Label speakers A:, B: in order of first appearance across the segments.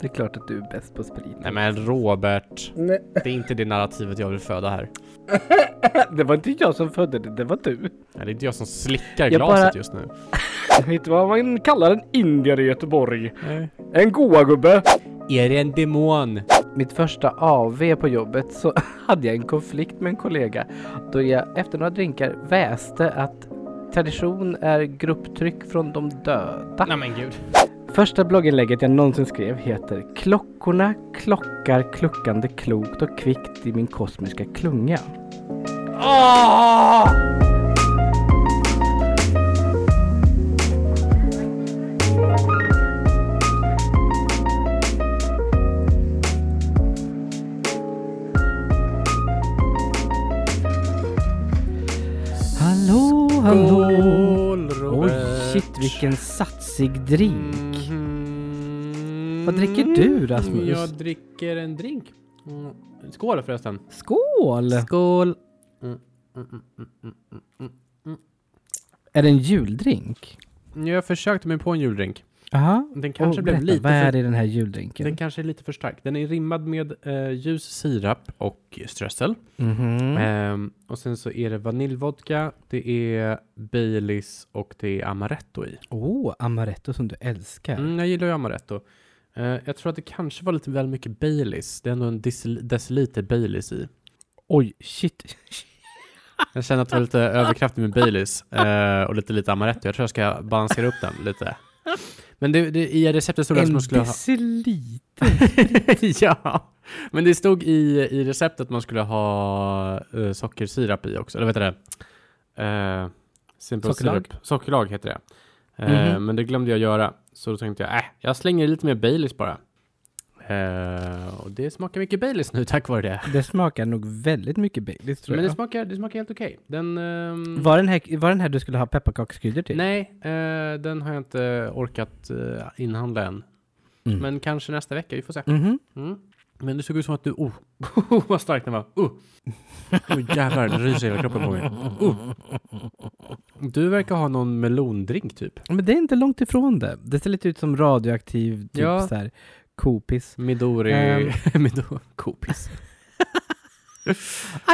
A: Det är klart att du är bäst på sprit.
B: Nej men Robert,
A: Nej,
B: det är inte det narrativet jag vill föda här.
A: det var inte jag som födde det, det var du.
B: Nej, det är inte jag som slickar
A: Jag bara-
B: glaset just nu.
A: Jag vet inte vad man kallar en indier i Göteborg.
B: Nej.
A: En goa-gubbe.
B: Är det en demon?
A: Mitt första AV på jobbet så hade jag en konflikt med en kollega då jag efter några drinkar väste att tradition är grupptryck från de döda.
B: Nej men gud.
A: Första blogginlägget jag någonsin skrev heter Klockorna klockar kluckande klokt och kvickt i min kosmiska klunga.
B: Åh!
A: Hallå,
B: Skål Robert! Mm.
A: Oj, shit vilken satsig drink.
B: Mhm.
A: Vad dricker du, Rasmus?
B: Jag dricker en drink. Mm. Skål förresten. Mm,
A: Skål!
B: Skål. mm.
A: Är det en juldrink?
B: Jag försökte mig på en juldrink.
A: Aha.
B: Den kanske
A: Och
B: blev
A: berätta,
B: lite
A: vad är
B: för,
A: det i den här juldrinken?
B: Den kanske är lite för stark. Den är rimmad med eh, ljus sirap och strössel.
A: Mhm.
B: Ehm, och sen så är det vaniljvodka, det är Baileys och det är amaretto i.
A: Åh, oh, amaretto som du älskar.
B: Mm, jag gillar ju amaretto. Eh, jag tror att det kanske var lite väl mycket Baileys. Det är ändå en decil- deciliter Baileys i.
A: Oj, shit.
B: Jag känner att det var lite överkraftigt med Baileys eh, och lite lite amaretto. Jag tror jag ska balansera upp den lite. Men det, det, i receptet stod det att
A: En
B: man skulle ha...
A: decilit.
B: ja. Men det stod i, i receptet att man skulle ha eh, sockersirap i också. Eller vad heter det? Eh, simple
A: Sockerlag?
B: Syrup. Sockerlag heter det. Eh,
A: Mhm.
B: Men det glömde jag göra. Så då tänkte jag, äh, jag slänger i lite mer Baileys bara. Eh, och det smakar mycket Baileys nu tack vare det.
A: Det smakar nog väldigt mycket Baileys tror
B: Men det
A: jag.
B: smakar, det smakar helt okej. Den... ehm,
A: Var den, här, var den här du skulle ha pepparkaksskryddor till?
B: Nej, eh, den har jag inte orkat eh, inhandla än.
A: Mm.
B: Men kanske nästa vecka, vi får se.
A: Mhm.
B: Mm. Men det såg ut som att du... Oh, vad stark den var! Oh. Oh, jävlar, det ryser i hela kroppen på mig. Oh. Du verkar ha någon melondrink typ.
A: Men det är inte långt ifrån det. Det ser lite ut som radioaktiv typ
B: Ja.
A: så här kopiss.
B: Midori... Midori... Kopis.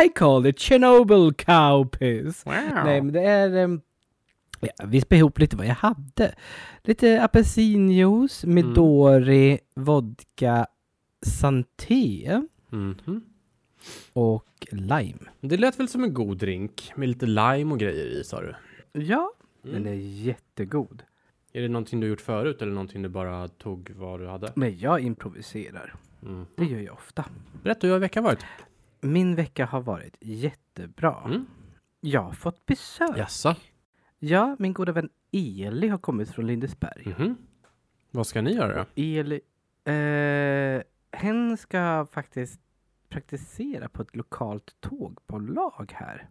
A: I call it Chernobyl cowpiss.
B: Wow.
A: Nej, men det är... ehm, ja, vi spelade ihop lite vad jag hade. Lite apelsinjuice, Midori, vodka, Santé
B: Mhm.
A: och lime.
B: Det lät väl som en god drink med lite lime och grejer i sa du?
A: Ja,
B: Mm.
A: den är jättegod.
B: Är det någonting du gjort förut eller någonting du bara tog vad du hade?
A: Men jag improviserar.
B: Mm.
A: Det gör jag ofta.
B: Berätta hur har veckan varit?
A: Min vecka har varit jättebra.
B: Mm.
A: Jag har fått besök.
B: Jaså?
A: Ja, min goda vän Eli har kommit från Lindesberg.
B: Mhm. Vad ska ni göra då?
A: Eli, eh, hen ska faktiskt praktisera på ett lokalt tågbolag här.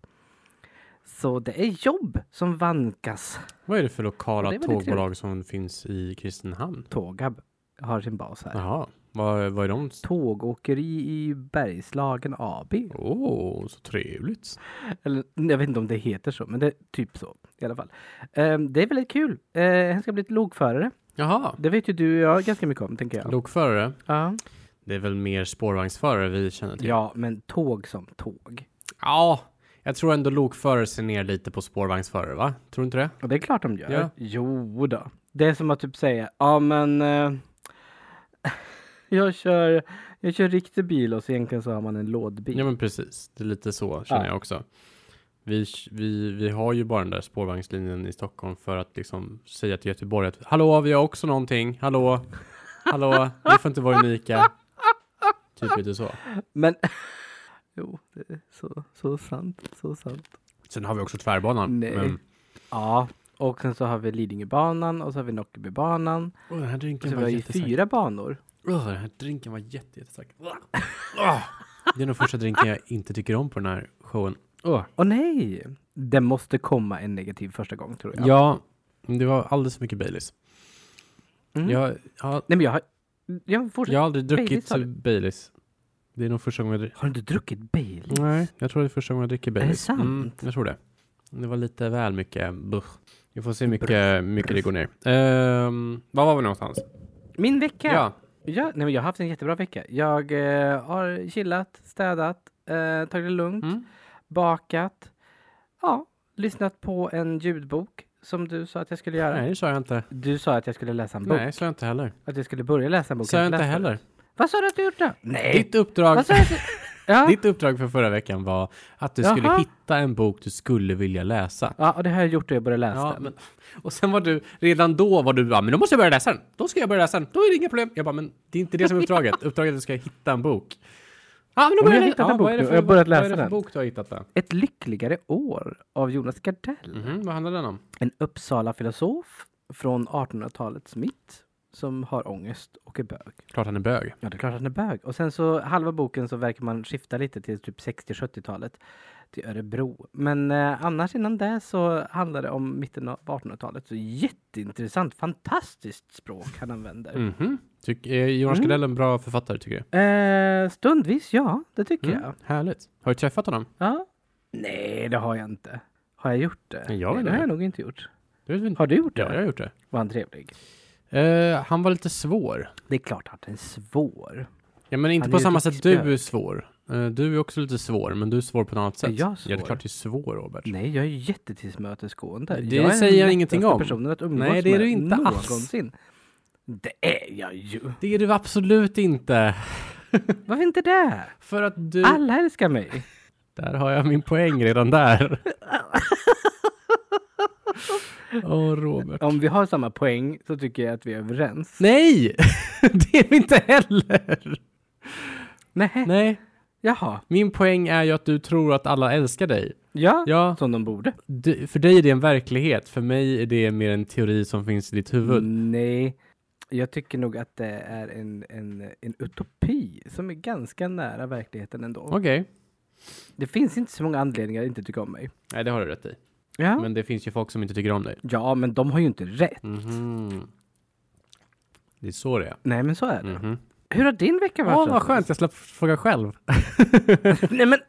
A: Så det är jobb som vankas.
B: Vad är det för lokala
A: Det är väldigt
B: tågbolag som finns i Kristinehamn?
A: Tågab har sin bas här.
B: Jaha, vad, vad är de?
A: Tågåkeri i Bergslagen AB.
B: Åh, så trevligt.
A: Eller, jag vet inte om det heter så, men det är typ så i alla fall. Eh, det är väldigt kul. Eh, hen ska bli lokförare.
B: Jaha,
A: Det vet ju du och jag ganska mycket om, tänker jag.
B: lokförare.
A: Ja.
B: Det är väl mer spårvagnsförare vi känner till?
A: ja, men tåg som tåg.
B: Ja, jag tror ändå lokförare ser ner lite på spårvagnsförare, va? Tror du inte det?
A: Och det är klart de gör.
B: Ja.
A: Jo då. Det är som att typ säga, ja men eh, jag, kör, jag kör riktig bil och så egentligen så har man en lådbil.
B: Ja, men precis. Det är lite så känner
A: Ja.
B: jag också. Vi, vi, vi har ju bara den där spårvagnslinjen i Stockholm för att liksom säga till Göteborg att hallå, vi har också någonting. Hallå, hallå, ni får inte vara unika. Typ lite så.
A: Men- jo, det är så, så sant, så sant.
B: Sen har vi också tvärbanan.
A: Nej. Ja, och sen så har vi Lidingöbanan och så har vi Nockebybanan.
B: Åh, den här
A: Och
B: drinken
A: så
B: var
A: har vi
B: jättestark.
A: fyra banor.
B: Åh, den här drinken var jätte, jättestark. Åh, Det är den första drinken jag inte tycker om på den här showen. Åh.
A: Åh nej! Det måste komma en negativ första gång tror jag.
B: Ja, det var alldeles för mycket Baileys.
A: Mm.
B: Jag, jag,
A: Nej men jag har... Jag fortsätter.
B: jag har aldrig
A: Baileys,
B: druckit
A: sa du?
B: Baileys. Det är nog första gången jag dricker.
A: Har du inte druckit Baileys?
B: Nej, jag tror det är första gången jag dricker Baileys.
A: sant?
B: Mm, jag tror det. Det var lite väl mycket buh. Vi får se hur mycket, mycket det går ner. Ehm, var var vi någonstans?
A: Min vecka!
B: Ja,
A: Ja, nej, men jag har haft en jättebra vecka. Jag eh, har chillat, städat, eh, tagit det lugnt,
B: Mm.
A: bakat. Ja, lyssnat på en ljudbok som du sa att jag skulle göra.
B: Nej, det sa jag inte.
A: Du sa att jag skulle läsa en bok.
B: Nej, det sa jag inte heller.
A: Att jag skulle börja läsa en bok.
B: Sa jag
A: inte
B: inte
A: läst den.
B: heller.
A: Vad sa du att du gjort då? Nej.
B: Ditt uppdrag,
A: Vad sa du? Att du... Ja.
B: ditt uppdrag för förra veckan var att du skulle
A: Jaha.
B: hitta en bok du skulle vilja läsa.
A: ja, och det har jag gjort och jag började läsa
B: Ja,
A: den.
B: men, och sen var du, redan då var du bara, men då måste jag börja läsa den. Då ska jag börja läsa den. Då är det inga problem. Jag bara, men det är inte det som är uppdraget. Uppdraget är att du ska hitta en bok. Ja, men då
A: jag
B: börjar
A: har
B: jag
A: hittat
B: ja,
A: en bok
B: vad är det
A: nu.
B: för-
A: Jag har börjat
B: vad är
A: läsa
B: det för
A: den.
B: bok du har hittat då?
A: Ett lyckligare år av Jonas Gardell.
B: Mhm, vad handlar den om?
A: En Uppsala-filosof från 1800-talets mitt som har ångest och är bög.
B: Klart han är bög.
A: Ja, det är klart att han är bög. Och sen så halva boken så verkar man skifta lite till typ 60-70-talet. Till Örebro. Men eh, annars innan det så handlar det om mitten av 1800-talet. Så jätteintressant, fantastiskt språk han använder.
B: Mhm. Tyck, är Jonas
A: Mm.
B: Gardell en bra författare tycker du?
A: Eh, stundvis, ja. Det tycker
B: Mm,
A: jag.
B: Härligt. Har du träffat honom?
A: Ja. Nej, det har jag inte. Har jag gjort det?
B: Nej, jag
A: Nej,
B: vet
A: det har jag
B: inte.
A: nog inte gjort.
B: Du vet inte.
A: Har du gjort det?
B: Ja, jag har gjort det.
A: Var han trevlig?
B: Eh, han var lite svår.
A: Det är klart att den är svår.
B: Ja, men inte
A: Han är
B: på
A: ju
B: samma sätt du
A: riksbög.
B: är svår. Eh, du är också lite svår, men du är svår på ett annat
A: Är
B: sätt.
A: jag svår?
B: Ja, det är klart du är svår, Robert.
A: Nej, jag är jättetillmötesgående.
B: Det
A: är
B: säger jag
A: den
B: ingenting
A: lättaste
B: om.
A: personen att umgås
B: Nej, det är
A: med
B: du inte alls.
A: någonsin. Det är jag ju.
B: Det är du absolut inte.
A: Varför inte det?
B: För att du...
A: Alla älskar mig.
B: Där har jag min poäng redan där. Åh, Robert.
A: Om vi har samma poäng så tycker jag att vi är överens.
B: Nej! det är vi inte heller!
A: Nej.
B: Nej,
A: Jaha.
B: min poäng är ju att du tror att alla älskar dig.
A: Ja.
B: Ja,
A: Som de borde.
B: du, för dig är det en verklighet. För mig är det mer en teori som finns i ditt
A: Mm.
B: huvud.
A: Nej. Jag tycker nog att det är en, en, en utopi som är ganska nära verkligheten ändå.
B: Okej.
A: Det finns inte så många anledningar att inte tycka om mig.
B: Nej, det har du rätt i.
A: Ja.
B: Men det finns ju folk som inte tycker om dig.
A: ja, men de har ju inte rätt.
B: Mhm. Det är så det är.
A: Nej, men så är det.
B: Mhm.
A: Hur har din vecka varit?
B: Åh, vad
A: Rasmus?
B: skönt. Jag slapp fråga själv.
A: Nej, men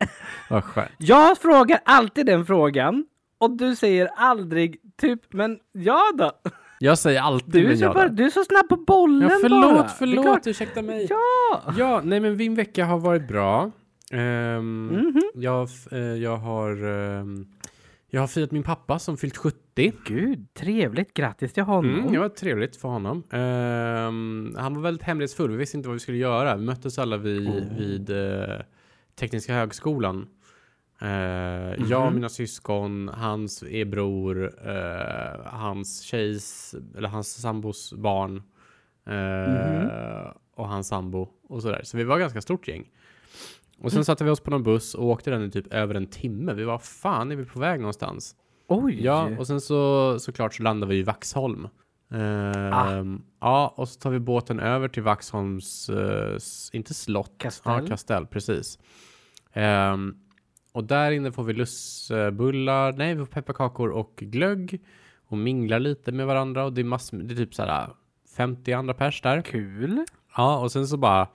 B: Vad skönt.
A: Jag frågar alltid den frågan och du säger aldrig typ, men ja då.
B: Jag säger alltid
A: Du är
B: Typ men
A: så,
B: jag
A: bara,
B: då.
A: du är så snabb på bollen
B: Ja,
A: bara.
B: förlåt,
A: Det är
B: förlåt.
A: klart.
B: Ursäkta mig.
A: Ja!
B: Ja, nej men min vecka har varit bra. Ehm, jag, f- eh, jag har ehm, jag har firat min pappa som fyllt 70.
A: Gud, trevligt. Grattis till honom.
B: Mm, det var trevligt för honom. Ehm, han var väldigt hemlighetsfull. Vi visste inte vad vi skulle göra. Vi möttes alla vid, vid eh, Tekniska högskolan. Eh, Jag och mina syskon, hans bror, eh, hans tjejs, eller hans sambos barn. eh, Och hans sambo och sådär. Så vi var ett ganska stort gäng. Och sen satte vi oss på någon buss och åkte den i typ över en timme. Vi var fan är vi på väg någonstans?
A: Oj!
B: Ja, och sen så såklart så landar vi i Vaxholm.
A: Ah.
B: Ehm, Ja, och så tar vi båten över till Vaxholms, eh, s- inte slott,
A: Kastell.
B: Ja, kastell, precis. Ehm, och där inne får vi lussebullar, nej, vi får pepparkakor och glögg och minglar lite med varandra och det är massor, det är typ så här 50 andra pers där.
A: Kul.
B: Ja, och sen så bara,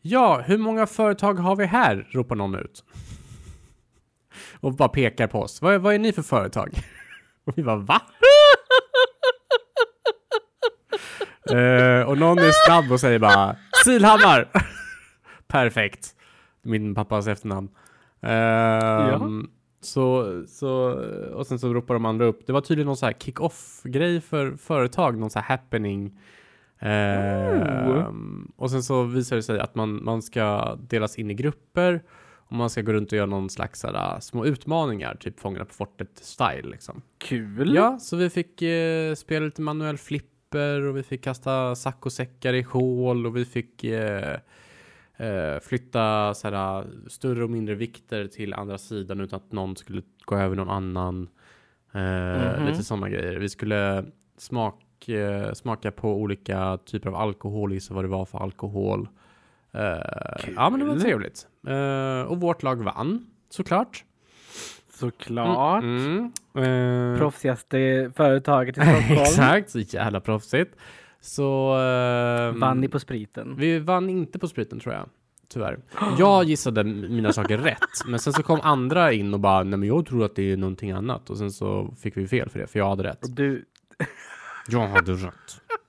B: ja, hur många företag har vi här? ropar någon ut. Och bara pekar på oss. Vad, vad är ni för företag? Och vi bara, va? Eh, och någon är snabb och säger bara, Silhammar! Perfekt. Min pappas efternamn. Ehm, så, så, och sen så ropar de andra upp. Det var tydligen någon så här kick-off-grej för företag, någon så här happening. Ehm, och sen så visar det sig att man, man ska delas in i grupper och man ska gå runt och göra någon slags så här, små utmaningar, typ Fångarna på fortet-style. Liksom.
A: Kul.
B: Ja, så vi fick eh, spela lite manuell flipper och vi fick kasta saccosäckar i hål och vi fick eh, eh, flytta så här, eh, större och mindre vikter till andra sidan utan att någon skulle gå över någon annan. Eh,
A: Mhm.
B: Lite sådana grejer. Vi skulle smak, eh, smaka på olika typer av alkohol, gissa vad det var för alkohol. Eh, ja, men det var
A: Kul.
B: trevligt. Eh, och vårt lag vann, såklart.
A: Såklart.
B: Mm. Eh,
A: Proffsigaste företaget i Stockholm.
B: Exakt, så jävla proffsigt. Så... eh,
A: Vann ni på spriten?
B: Vi vann inte på spriten tror jag. Tyvärr. Jag gissade m- mina saker rätt, men sen så kom andra in och bara nej men jag tror att det är någonting annat och sen så fick vi fel för det, för jag hade rätt.
A: Och du,
B: Jag hade rätt.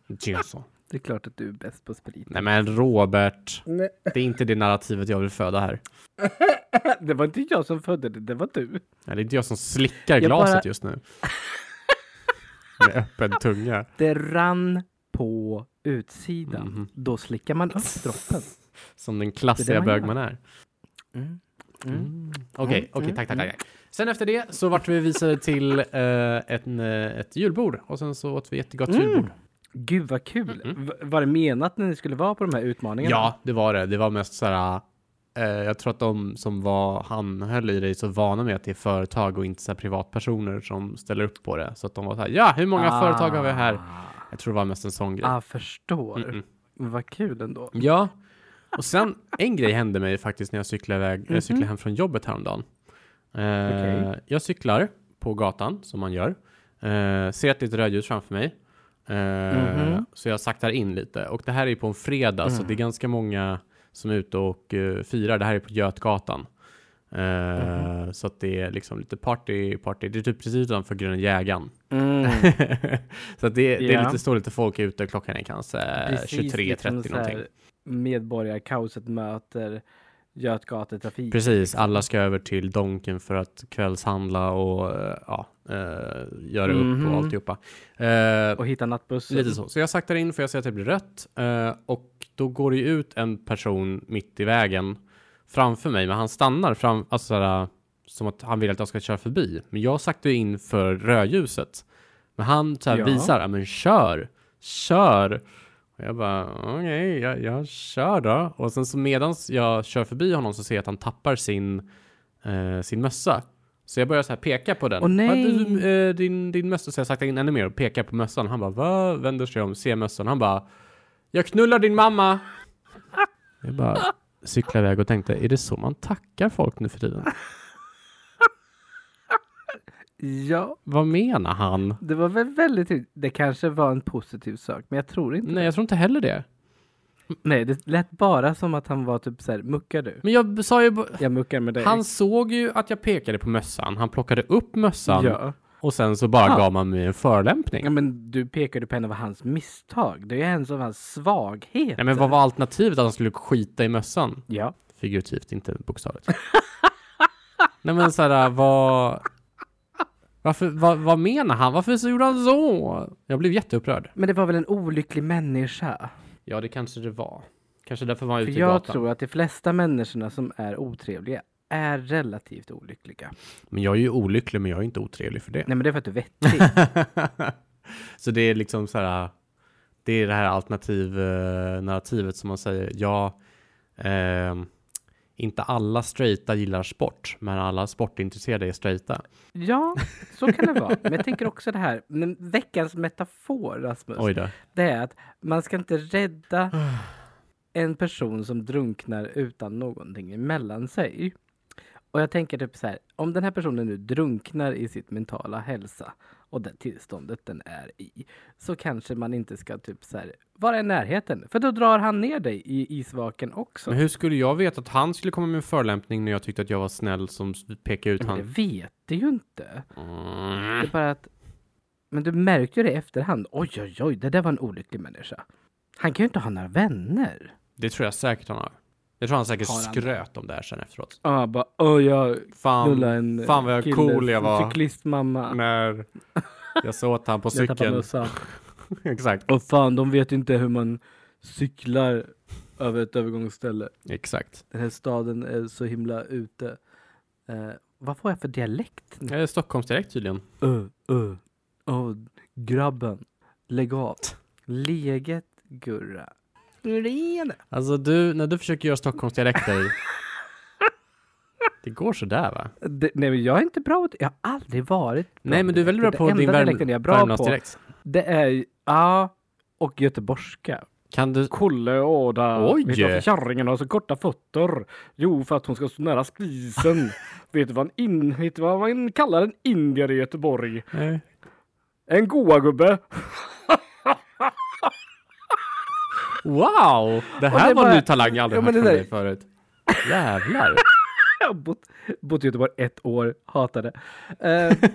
B: Det är så.
A: Det är klart att du är bäst på sprit.
B: Nej men Robert,
C: Nej.
B: det är inte det narrativet jag vill föda här.
A: Det var inte jag som födde det, det var du.
B: Nej, det är inte jag som slickar
A: Jag
B: glaset
A: bara-
B: just nu. Med öppen tunga.
A: Det rann på utsidan.
B: Mhm.
A: Då slickar man upp droppen.
B: Som den klassiga
A: man
B: bög
A: gör.
B: man är.
A: Mm.
B: Mm.
A: Mm.
B: Okej, okej, tack, tack, tack. Sen efter det så vart vi visade till eh, ett, eh, ett julbord och sen så åt vi jättegott
A: Mm.
B: julbord.
A: Gud vad kul!
B: Mm.
A: V- var det menat när ni skulle vara på de här utmaningarna?
B: Ja, det var det. Det var mest så här. eh, jag tror att de som var anhöll i det är så vana med att det är företag och inte så här privatpersoner som ställer upp på det. Så att de var så här, ja, hur många
A: Ah.
B: företag har vi här? Jag tror det var mest en sån grej.
A: Ah, förstår.
B: Mm-mm.
A: Vad kul ändå.
B: Ja, och sen en grej hände mig faktiskt när jag cyklade, iväg, jag cyklade hem från jobbet häromdagen. Eh,
A: Mhm. Okej.
B: Jag cyklar på gatan som man gör, eh, ser att det är ett rödljus framför mig. Eh,
A: Mhm. Mm.
B: Så jag saktar in lite och det här är ju på en fredag så det är ganska många som är ute och eh, firar. Det här är på Götgatan. Eh,
A: Mhm.
B: Så att det är liksom lite party, party. Det är typ precis utanför Gröna Jägaren. Eh,
A: Mm.
B: så att det, det är
A: Ja.
B: lite, står lite folk ute. Klockan är kanske
A: Precis
B: 23.30
A: liksom så här
B: någonting.
A: Medborgarkaoset möter Götgatetrafik.
B: Precis, alla ska över till Donken för att kvällshandla och eh, ja, eh, göra upp
A: Mhm.
B: och alltihopa. Eh,
A: Och hitta nattbussen.
B: lite så. Så jag saktar in för jag ser att det blir rött eh, och då går det ju ut en person mitt i vägen framför mig, men han stannar fram, alltså såhär, som att han vill att jag ska köra förbi. Men jag saktar ju in för rödljuset. Men han så här
A: Ja.
B: visar, "Ja, men kör, kör. Och jag bara, okej, jag, jag kör då. Och sen så medans jag kör förbi honom så ser jag att han tappar sin, eh, sin mössa. Så jag börjar så här peka på den.
A: Åh, nej.
B: "Vad hade du, eh, din, din mössa, så jag saktar in ännu mer och pekar på mössan. Han bara, va? Vänder sig om, ser mössan. Han bara, jag knullar din mamma. Jag bara cyklade iväg och tänkte, är det så man tackar folk nu för tiden?
A: Ja,
B: Vad menar han?
A: det var väl väldigt trevligt. Det kanske var en positiv sak, men jag tror inte
B: Nej, jag tror inte heller det.
A: Nej, det lät bara som att han var typ så här, muckar du?
B: Men jag sa ju, b-
A: Jag muckar med dig.
B: han såg ju att jag pekade på mössan. Han plockade upp mössan
A: ja.
B: och sen så bara
A: Ja.
B: gav man mig en förolämpning.
A: ja, men du pekade på en av hans misstag. Det är ju en av hans svagheter.
B: Nej, men vad var alternativet? Att han skulle skita i mössan?
A: Ja.
B: Figurativt, inte bokstavligt. Nej, men så här, vad... Varför, vad, vad menar han? Varför så gjorde han så? Jag blev jätteupprörd.
A: Men det var väl en olycklig människa?
B: Ja, det kanske det var. Kanske därför var han
A: För
B: ute i
A: jag
B: gatan.
A: tror att de flesta människorna som är otrevliga är relativt olyckliga.
B: Men jag är ju olycklig, men jag är inte otrevlig för det.
A: Nej men det är för att du är vettig.
B: så det är liksom så här. Det är det här alternativ-narrativet som man säger. Ja, ehm, inte alla straighta gillar sport, men alla sportintresserade är straighta.
A: ja, så kan det vara. Men jag tänker också det här, men veckans metafor Rasmus,
B: Oj då.
A: det är att man ska inte rädda en person som drunknar utan någonting emellan sig. Och jag tänker typ så här, om den här personen nu drunknar i sitt mentala hälsa och det tillståndet den är i, så kanske man inte ska typ så här, vara i närheten, för då drar han ner dig i isvaken också.
B: Men hur skulle jag veta att han skulle komma med en förolämpning när jag tyckte att jag var snäll som s- pekade ut
A: Men det
B: han?
A: vet du ju inte. Det
B: Mm.
A: är bara att... Men du märkte ju det i efterhand. Oj, oj, oj, det där var en olycklig människa. Han kan ju inte ha några vänner.
B: Det tror jag säkert han har. Jag tror han säkert
A: Har han?
B: skröt om det här sen efteråt.
A: Ja, bara, åh, jag knullade
B: Fan,
A: en
B: fan vad jag
A: kille
B: cool jag
A: som
B: var.
A: cyklistmamma.
B: när jag såg att han på
A: jag tappade
B: cykeln.
A: mössan.
B: Exakt.
A: Och fan, de vet inte hur man cyklar över ett övergångsställe.
B: Exakt.
A: Den här staden är så himla ute. Eh, vad får jag för dialekt? nu?
B: Jag är Stockholmsdirekt tydligen.
A: Ö, ö. Åh, grabben. Lägg av. Leget, Gurra. Rene.
B: Alltså du, när du försöker göra Stockholmsdialekter. det går sådär va?
A: Det, nej men jag är inte bra åt Jag har aldrig varit bra
B: Nej men du är väldigt bra på din
A: Värm-
B: Värm-
A: jag är bra på,
B: Värmlandsdialekt.
A: det är ju- ja, och göteborgska.
B: Kan du?
A: Kolle åda.
B: Oj!
A: Vet du varför kärringen har så korta fötter? Jo, för att hon ska så nära spisen. vet du vad en in, vet du vad man kallar en indier i Göteborg?
B: Nej.
A: En goagubbe.
B: Wow! Det här
A: det
B: var
A: bara-
B: en ny talang jag aldrig
A: Ja, men
B: hört från
A: det där-
B: dig förut. Jävlar.
A: Jag har bott, bott i Göteborg ett år, hatar det. Eh,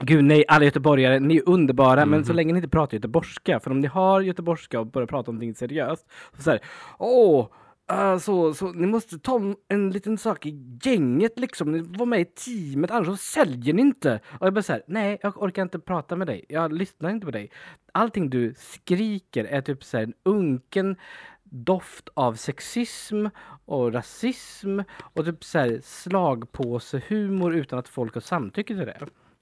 A: gud nej, alla göteborgare, ni är underbara, men så länge ni inte pratar göteborgska, för om ni har göteborgska och börjar prata om någonting seriöst, så säger åh, eh, så, så ni måste ta en liten sak i gänget liksom, ni var med i teamet, annars så säljer ni inte. Och jag bara såhär, nej, jag orkar inte prata med dig, jag lyssnar inte på dig. Allting du skriker är typ såhär en unken doft av sexism och rasism och typ så här slagpåsehumor utan att folk har samtycke till det.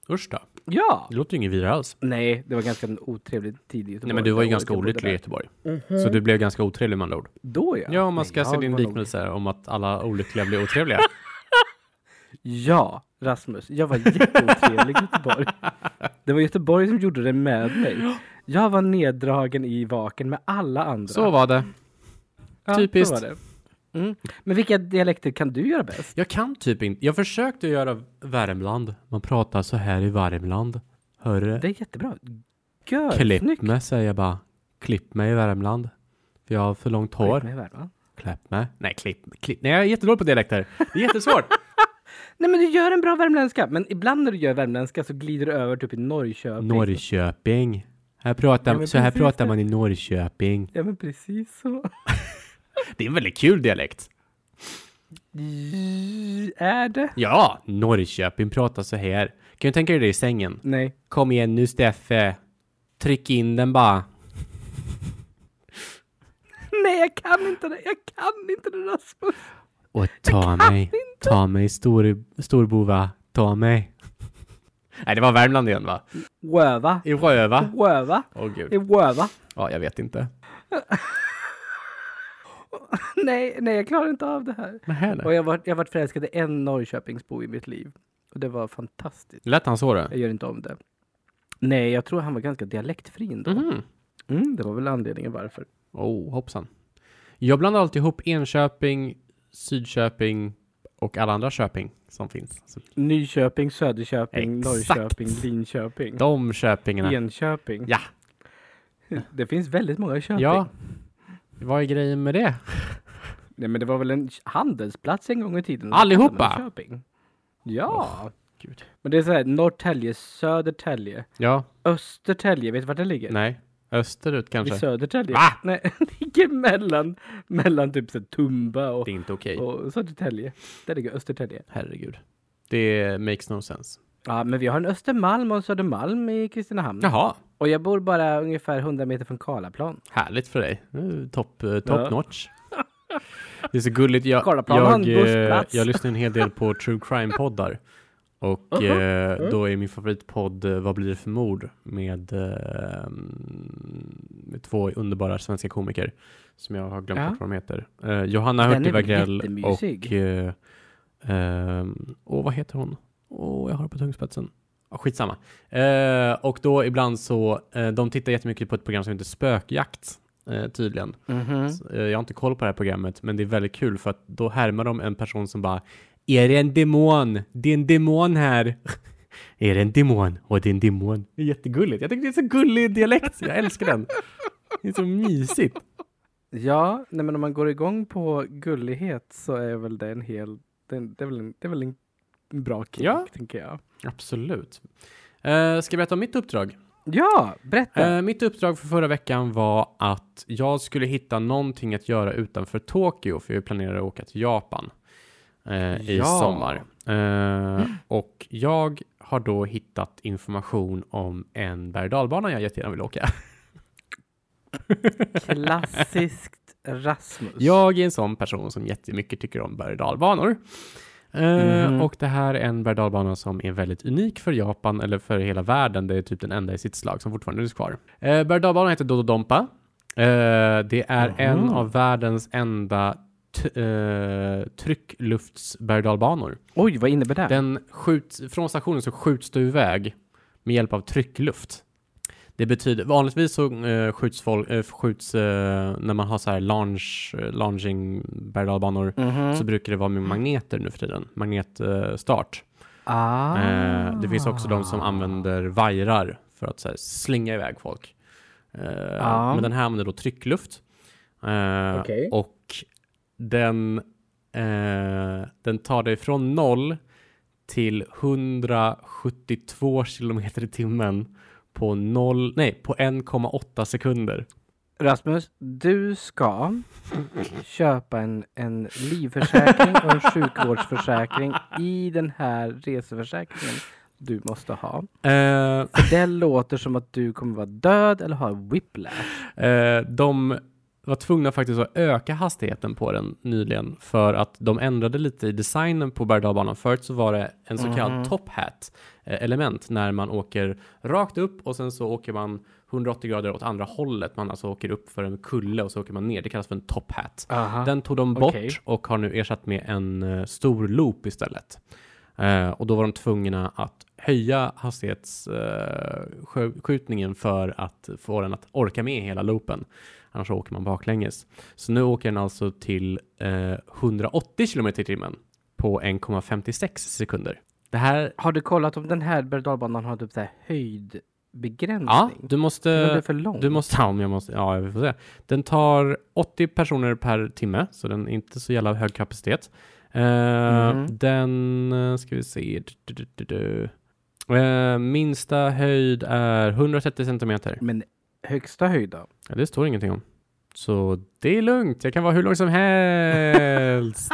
B: Usch då.
A: Ja!
B: Det låter ju inget vidare alls.
A: Nej, det var ganska en otrevlig tid i Göteborg.
B: Nej men du var ju
A: Det
B: ganska
A: året jag bodde
B: olycklig i
A: där.
B: Göteborg. Så du blev ganska otrevlig med andra ord.
A: Då ja.
B: Ja, om man
A: Nej,
B: ska se
A: jag
B: din
A: var nog-
B: liknelse här om att alla olyckliga blir otrevliga.
A: Ja, Rasmus. Jag var jätteotrevlig i Göteborg. Det var Göteborg som gjorde det med mig. Jag var neddragen i vaken med alla andra.
B: Så var det.
A: Ja,
B: typiskt.
A: så var det. Mm. Men vilka dialekter kan du göra bäst?
B: Jag kan typ inte. Jag försökte göra Värmland. Man pratar så här i Värmland. Hörru,
A: Det är jättebra. Gör,
B: klipp mig säger jag bara. Klipp mig i Värmland. För jag har för långt hår. Klipp mig. Nej, klipp, klipp. Nej, jag är jättedålig på dialekter. Det är jättesvårt.
A: Nej men du gör en bra värmländska, men ibland när du gör värmländska så glider du över typ i Norrköping.
B: Norrköping. Här pratar,
A: Ja, men
B: så här
A: precis
B: pratar
A: det.
B: man i Norrköping.
A: Ja men precis så.
B: Det är en väldigt kul dialekt.
A: J- Är det?
B: Ja, Norrköping pratar så här. Kan du tänka dig det i sängen?
A: Nej.
B: Kom igen nu Steffe. Tryck in den bara.
A: Nej jag kan inte det, jag kan inte det Rasmus.
B: Och ta mig. Ta mig stor, storbova. Ta mig. Nej, det var Värmland igen va?
A: Wöva.
B: I Röva.
A: Wöva.
B: Åh gud.
A: I Wöva.
B: Ja, jag vet inte.
A: Nej, nej jag klarar inte av det här.
B: Men här nu.
A: Och jag har varit- jag har varit förälskad i en Norrköpingsbo i mitt liv. Och det var fantastiskt.
B: Lät han så då?
A: Jag gör inte om det. Nej, jag tror han var ganska dialektfri ändå.
B: Mhm.
A: Mm, det var väl anledningen varför.
B: Oh, hoppsan. Jag blandar alltid ihop Enköping, Sydköping och alla andra Köping som finns. Alltså,
A: Nyköping, Söderköping,
B: Exakt.
A: Norrköping, Linköping.
B: de Köpingarna.
A: Enköping.
B: Ja.
A: Det finns väldigt många Köping.
B: Ja. Vad är grejen med det?
A: Nej, men det var väl en handelsplats en gång i tiden.
B: Allihopa?
A: Köping. Ja.
B: Gud.
A: Men det är så här, Norrtälje, Södertälje,
B: Ja,
A: Östertälje, vet du vart det ligger?
B: nej. Österut
A: I
B: kanske.
A: Södertälje.
B: Va?
A: Nej, det ligger mellan, mellan typ så här, Tumba och,
B: Det är inte okej.
A: och Södertälje. Där ligger Östertälje.
B: Herregud. Det makes no sense.
A: Ja, men vi har en Östermalm och en Södermalm i Kristinehamn.
B: Jaha.
A: Och jag bor bara ungefär 100 meter från Karlaplan.
B: Härligt för dig. Mm, Top, eh, top
A: Ja.
B: notch. Det är så gulligt. Jag,
A: Karlaplan har en
B: jag, eh,
A: bussplats.
B: jag lyssnar en hel del på true crime-poddar. Och
A: Uh-huh.
B: eh, då är min favoritpodd eh, Vad blir det för mord? Med, eh, med två underbara svenska komiker som jag har glömt
A: Ja.
B: bort vad de heter. Eh, Johanna
A: Den är
B: Hurtig
A: väl
B: Wagrell och...
A: jättemysig?
B: Eh, eh, åh, vad heter hon? Åh, jag har det på tungspetsen. Ah, skitsamma. Eh, och då ibland så, eh, de tittar jättemycket på ett program som heter Spökjakt, eh, tydligen.
A: Mm.
B: Så, eh, jag har inte koll på det här programmet, men det är väldigt kul för att då härmar de en person som bara Är det en demon? Det är en demon här! är det en demon? Och det är en demon. Det är jättegulligt. Jag tycker det är så gullig dialekt. Jag älskar den. Det är så mysigt.
A: Ja, nej men om man går igång på gullighet så är väl det en hel... Det, det, är, väl en, det är väl en bra kick,
B: Ja.
A: tänker jag.
B: Absolut. Eh, ska jag berätta om mitt uppdrag?
A: Ja, berätta!
B: Eh, mitt uppdrag för förra veckan var att jag skulle hitta någonting att göra utanför Tokyo, för jag planerar att åka till Japan eh, i
A: Ja.
B: sommar. Eh, och jag har då hittat information om en berg och dalbana jag jättegärna vill åka.
A: Klassiskt Rasmus.
B: Jag är en sån person som jättemycket tycker om berg och dalbanor. Eh,
A: Mhm.
B: Och det här är en berg och dalbana som är väldigt unik för Japan eller för hela världen. Det är typ den enda i sitt slag som fortfarande finns kvar. Eh, berg och dalbanan heter Dododompa. Eh, det är en av världens enda t- eh, trycklufts berg och dalbanor.
A: Oj, vad innebär det?
B: Den skjuts, från stationen så skjuts du iväg med hjälp av tryckluft. Det betyder, vanligtvis så eh, skjuts, folk, eh, skjuts eh, när man har så här launch, eh, launching berg och
A: Mhm.
B: så brukar det vara med magneter nu för tiden, magnetstart. Eh, start.
A: ah.
B: eh, det finns också de som använder vajrar för att så här, slinga iväg folk. Eh,
A: Ah.
B: Men den här använder då tryckluft. Eh,
A: Okej.
B: Och den Eh, den tar dig från noll till 172 kilometer i timmen på noll, nej, på 1,8 sekunder.
A: Rasmus, du ska köpa en, en livförsäkring och en sjukvårdsförsäkring i den här reseförsäkringen du måste ha.
B: Eh,
A: Det låter som att du kommer vara död eller ha whiplash.
B: Eh, de var tvungna faktiskt att öka hastigheten på den nyligen för att de ändrade lite i designen på berg dalbanan. Förut så var det en så kallad top hat eh, element när man åker rakt upp och sen så åker man 180 grader åt andra hållet. Man alltså åker upp för en kulle och så åker man ner. Det kallas för en top hat.
A: Aha.
B: Den tog de bort
A: Okej.
B: och har nu ersatt med en eh, stor loop istället. Eh, och då var de tvungna att höja hastighetsskjutningen eh, skj- skjutningen för att få den att orka med hela loopen. Annars så åker man baklänges. Så nu åker den alltså till eh, 180 km i timmen på 1,56 sekunder. Det här,
A: Har du kollat om den här berg dalbanan har typ så här
B: ja,
A: höjdbegränsning?
B: du
A: Den är
B: måste,
A: för lång.
B: du måste, ja, om jag måste, ja, vi får se. Den tar 80 personer per timme, så den är inte så jävla hög kapacitet. Eh,
A: Mhm.
B: Den, eh, ska vi se, du, du, du, du, du. Eh, minsta höjd är 130 centimeter.
A: Men högsta höjd då?
B: Ja, det står ingenting om. Så det är lugnt, jag kan vara hur lång som helst.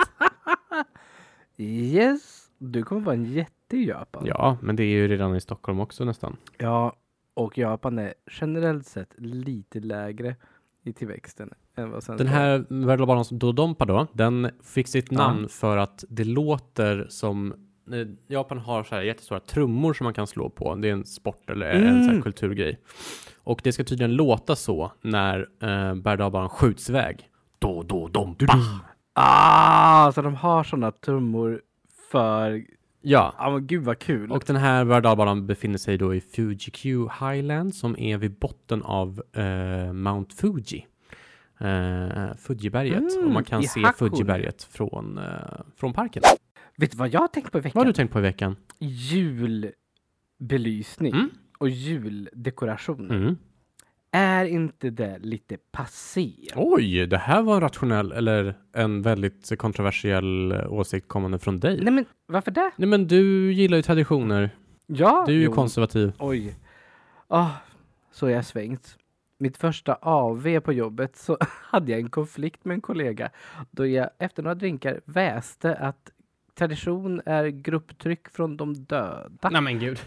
A: Yes, du kommer vara en jätte i Japan.
B: ja, men det är ju redan i Stockholm också nästan.
A: Ja, och Japan är generellt sett lite lägre i tillväxten än vad svenska
B: Den här Värdelbanan som Dodompa då, den fick sitt
A: Ja.
B: namn för att det låter som eh, Japan har så här jättestora trummor som man kan slå på. Det är en sport eller en så här
A: Mm.
B: kulturgrej. Och det ska tydligen låta så när eh, Bergdalbanan skjuts iväg. Då, då, dom, pa.
A: Ah, så de har sådana trummor för...
B: Ja,
A: Ja men gud vad kul!
B: och den här Värdelbanan befinner sig då i Fuji Q Highland som är vid botten av eh, Mount Fuji. Eh, Fujiberget.
A: Mm,
B: och man kan
A: i
B: se
A: Hakone.
B: Fujiberget från, eh, från parken.
A: Vet du vad jag har tänkt på i veckan?
B: Vad har du tänkt på i veckan?
A: Julbelysning
B: Mm.
A: och juldekoration.
B: Mm.
A: Är inte det lite passé?
B: Oj, det här var en rationell eller en väldigt kontroversiell eh, åsikt kommande från dig. Nej,
A: Nej men varför det?
B: men du gillar ju traditioner.
A: Ja,
B: Du är ju
A: jo.
B: konservativ.
A: Oj. Ah, så är jag svängt. Mitt första AV på jobbet så hade jag en konflikt med en kollega då jag efter några drinkar väste att tradition är grupptryck från de döda.
B: Nej men gud.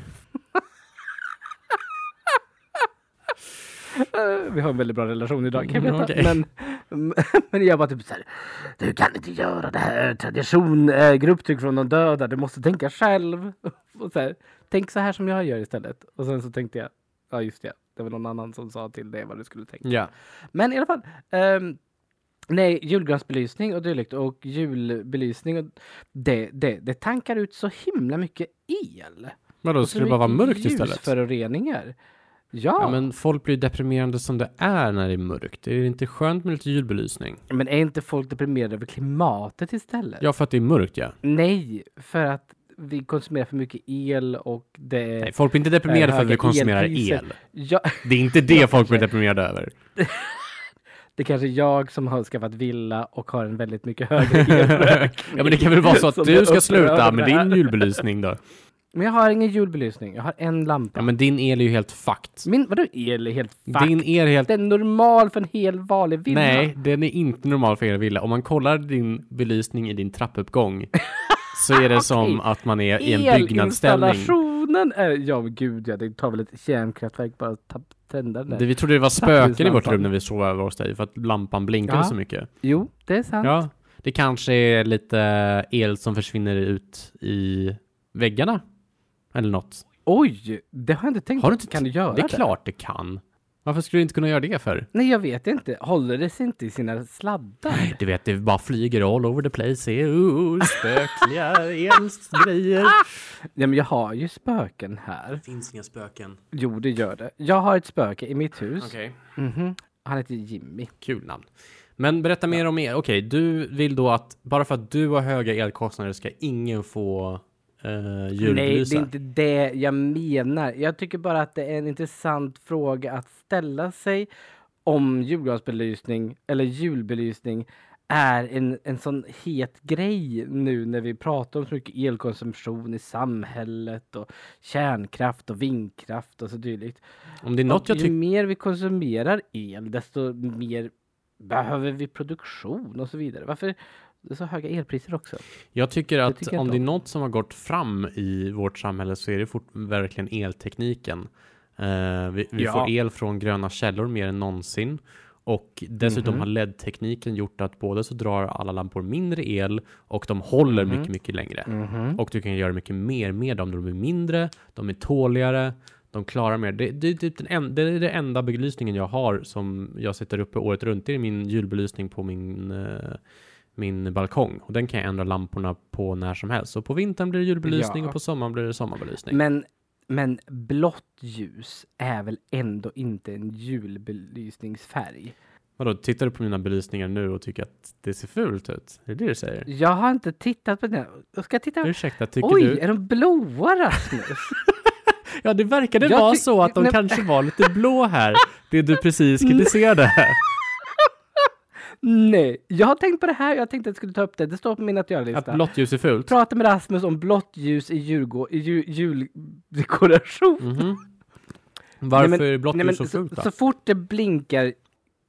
A: Eh, Vi har en väldigt bra relation idag kan jag
B: Mm,
A: veta.
B: okej.
A: Men, men jag var typ så här. Du kan inte göra det här. Tradition är grupptryck från de döda. Du måste tänka själv. Och så här, Tänk så här som jag gör istället. Och sen så tänkte jag. Ja just det. Det var någon annan som sa till dig vad du skulle tänka.
B: Ja.
A: Men i alla fall. ehm, nej, julgransbelysning och dylikt och julbelysning. Och det, det, det tankar ut så himla mycket el.
B: Men då
A: Och så
B: skulle Alltså, det bara vara
A: mycket
B: mörkt istället.
A: Ljusföroreningar.
B: Ja,
A: Ja,
B: men folk blir deprimerande som det är när det är mörkt. Det är inte skönt med lite julbelysning.
A: men, är inte folk deprimerade över klimatet istället?
B: Ja, för att det är mörkt ja.
A: Nej, för att vi konsumerar för mycket el och det...
B: Nej, folk blir inte deprimerade för att vi
A: höga
B: konsumerar
A: elpriser.
B: el.
A: Ja,
B: Det är inte det folk blir deprimerade över.
A: det är kanske är jag som har skaffat villa och har en väldigt mycket högre elräkning.
B: Ja, men det kan väl vara så
A: Som
B: att
A: är
B: du ska sluta
A: upprörd
B: med
A: här.
B: din julbelysning då.
A: Men jag har ingen julbelysning, jag har en lampa.
B: Ja, men din el är ju helt fucked.
A: Min, vadå el är helt fucked?
B: Din el är helt
A: Det är normal för en hel vanlig villa.
B: Nej, den är inte normal för er villa. Om man kollar din belysning i din trappuppgång så är det som att man är i en byggnadsställning.
A: Elinstallationen är... Ja, men gud ja, det tar väl ett kärnkraftverk bara att ta- tända den
B: Det,
A: där.
B: vi trodde det var spöken i vårt
A: Trapphuslampar.
B: rum när vi sov över hos dig för att lampan blinkade
A: Ja.
B: så mycket.
A: Jo, det är sant.
B: Ja, det kanske är lite el som försvinner ut i väggarna. Eller något.
A: Oj, det har jag inte tänkt
B: Har du
A: på.
B: inte
A: Kan du göra
B: Det är klart det kan. Varför skulle du inte kunna göra det för?
A: Nej, jag vet inte. Håller det sig inte i sina sladdar?
B: Du vet, det bara flyger all over the place. Uh, spökliga elgrejer.
A: Ah! Nej, men jag har ju spöken här.
B: Det finns inga spöken.
A: Jo, det gör det. Jag har ett spöke i mitt hus.
B: Okej.
A: Mhm. Han heter Jimmy.
B: Kul namn. Men berätta mer om er. Okej, du vill då att bara för att du har höga elkostnader ska ingen få eh,
A: Nej, det
B: julbelysa?
A: är inte det jag menar. Jag tycker bara att det är en intressant fråga att ställa sig om julgransbelysning eller julbelysning är en, en sån het grej nu när vi pratar om så mycket elkonsumtion i samhället och kärnkraft och vindkraft och så dylikt.
B: Om det är något
A: Och
B: jag
A: ju
B: tycker...
A: mer vi konsumerar el, desto mer behöver vi produktion och så vidare. Varför är det så höga elpriser också?
B: Jag tycker att
A: tycker jag
B: om
A: inte
B: det är
A: om.
B: något som har gått fram i vårt samhälle så är det fort, verkligen eltekniken. Eh, vi vi
A: Ja.
B: får el från gröna källor mer än någonsin. Och dessutom
A: Mhm.
B: har LED-tekniken gjort att både så drar alla lampor mindre el och de håller
A: Mhm.
B: mycket, mycket längre.
A: Mm.
B: Och du kan göra mycket mer med dem. De blir mindre, de är tåligare, de klarar mer. Det, det, är typ den en, det är den enda belysningen jag har som jag sätter uppe året runt. Det är min julbelysning på min, eh, min balkong. Och den kan jag ändra lamporna på när som helst. Så på vintern blir det julbelysning
A: Ja.
B: och på sommaren blir det sommarbelysning.
A: Men, men blått ljus är väl ändå inte en julbelysningsfärg?
B: Vadå, tittar du på mina belysningar nu och tycker att det ser fult ut? Är det det du säger?
A: Jag har inte tittat på den. Jag ska titta.
B: Ursäkta, tycker
A: Oj,
B: du?
A: är de blåa Rasmus?
B: Ja, det verkade
A: Jag
B: vara
A: ty-
B: så att de
A: Nej.
B: kanske var lite blå här, det du precis kritiserade.
A: Nej, jag har tänkt på det här. Jag tänkte att jag skulle ta upp det. Det står på min att
B: Att
A: göra-lista.
B: blått ljus är fult.
A: Prata med Rasmus om blått ljus i, julgå- i ju- juldekoration.
B: Mhm. Varför
A: Nej, men-
B: är blått
A: Nej, men
B: ljus så fult då?
A: så fort det blinkar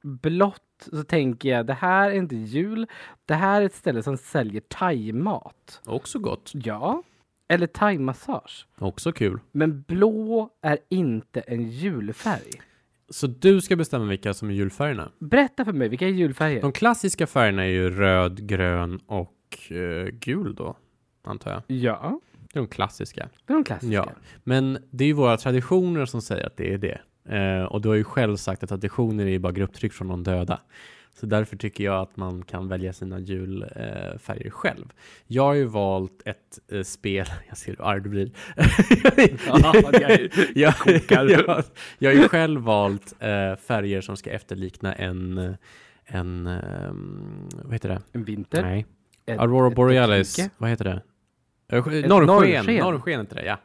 A: blått så tänker jag det här är inte jul. Det här är ett ställe som säljer thaimat.
B: Också gott.
A: Ja. Eller thaimassage.
B: Också kul.
A: Men blå är inte en julfärg.
B: Så du ska bestämma vilka som är julfärgerna.
A: Berätta för mig, vilka är julfärger?
B: De klassiska färgerna är ju röd, grön och eh, gul då, antar jag.
A: Ja,
B: Det är de klassiska.
A: det är de klassiska.
B: Ja. Men det är ju våra traditioner som säger att det är det. Eh, och du har ju själv sagt att traditioner är ju bara grupptryck från de döda. Så därför tycker jag att man kan välja sina julfärger eh, färger själv. Jag har ju valt ett eh, spel, jag ser hur arg du blir. jag, jag, jag, jag har ju själv valt eh, färger som ska efterlikna en, en ehm, vad heter det?
A: En vinter.
B: Nej.
A: Ett-
B: Aurora
A: ett
B: Borealis,
A: dike.
B: vad heter det? Eh, sk-
A: Ett
B: Norrsken,
A: norrsken.
B: norrsken heter det, ja.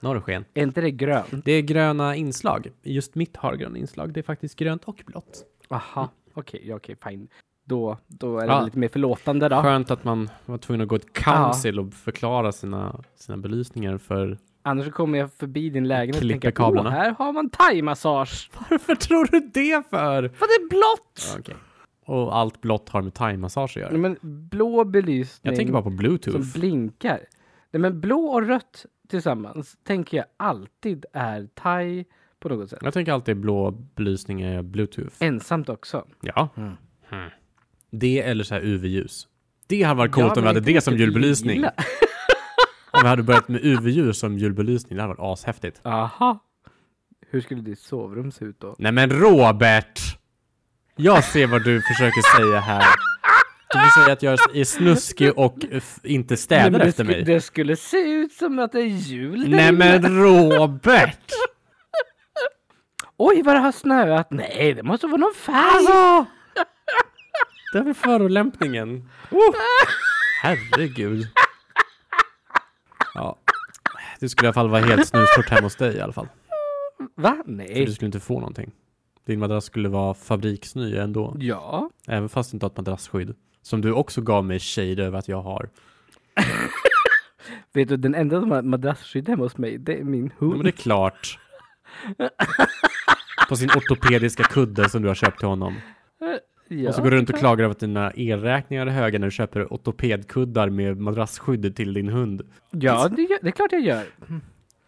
B: Norrsken.
A: Är inte det grönt?
B: Det är gröna inslag. Just mitt har gröna inslag. Det är faktiskt grönt och blått.
A: Aha, okej, ja, okej, fine. Då, då är det
B: Ja.
A: väl lite mer förlåtande då.
B: Ah. Skönt att man var tvungen att gå ett council och förklara sina, sina belysningar för...
A: Annars så kommer jag förbi din lägenhet och
B: Klipper
A: tänker
B: kablarna."
A: åh, här har man thaimassage.
B: Varför tror du det
A: För
B: för?
A: det är blått!
B: Ja, okej. Och allt blått har med thaimassage att göra.
A: Nej, men blå belysning
B: Jag tänker bara på
A: som
B: bluetooth.
A: blinkar. Nej, men blå och rött tillsammans tänker jag alltid är thai på något sätt.
B: Jag tänker alltid blå belysning är bluetooth.
A: Ensamt också.
B: Ja.
A: Mm.
B: Hmm. Det eller så här UV-ljus. Det hade varit coolt
A: Ja,
B: om vi
A: men
B: hade
A: inte
B: det som
A: mycket
B: julbelysning.
A: lila.
B: Om vi hade börjat med UV-ljus som julbelysning. Det hade varit ashäftigt.
A: Aha. Hur skulle ditt sovrum se ut då?
B: Nej men Robert! Jag ser vad du försöker säga här. Du försöker att jag är snuskig och eh, f- inte
A: Nej,
B: städar
A: men det,
B: efter
A: sku-
B: mig.
A: det skulle se ut som att det är jul där
B: Nej
A: inne.
B: men Robert!
A: Oj vad det har snöat! Nej, det måste vara någon färg!
B: Alltså! Det är väl förolämpningen. Oh. Herregud. Ja. Du skulle i alla fall vara helt snustort hemma hos dig i alla fall.
A: Va?
B: För du
A: Nej.
B: skulle inte få någonting. Din madrass skulle vara fabriksny ändå.
A: Ja.
B: Även fast du inte har ett madrassskydd. Som du också gav mig shade över att jag har.
A: Vet du, den enda som har madrasskydd hemma hos mig, det är min
B: Ja,
A: hund.
B: men det är klart. På sin ortopediska kudde som du har köpt till honom.
A: Ja.
B: Och så går du runt och klagar över att dina elräkningar är höga när du köper ortopedkuddar med madrassskydd till din hund.
A: Ja, det, gör, det är klart jag gör.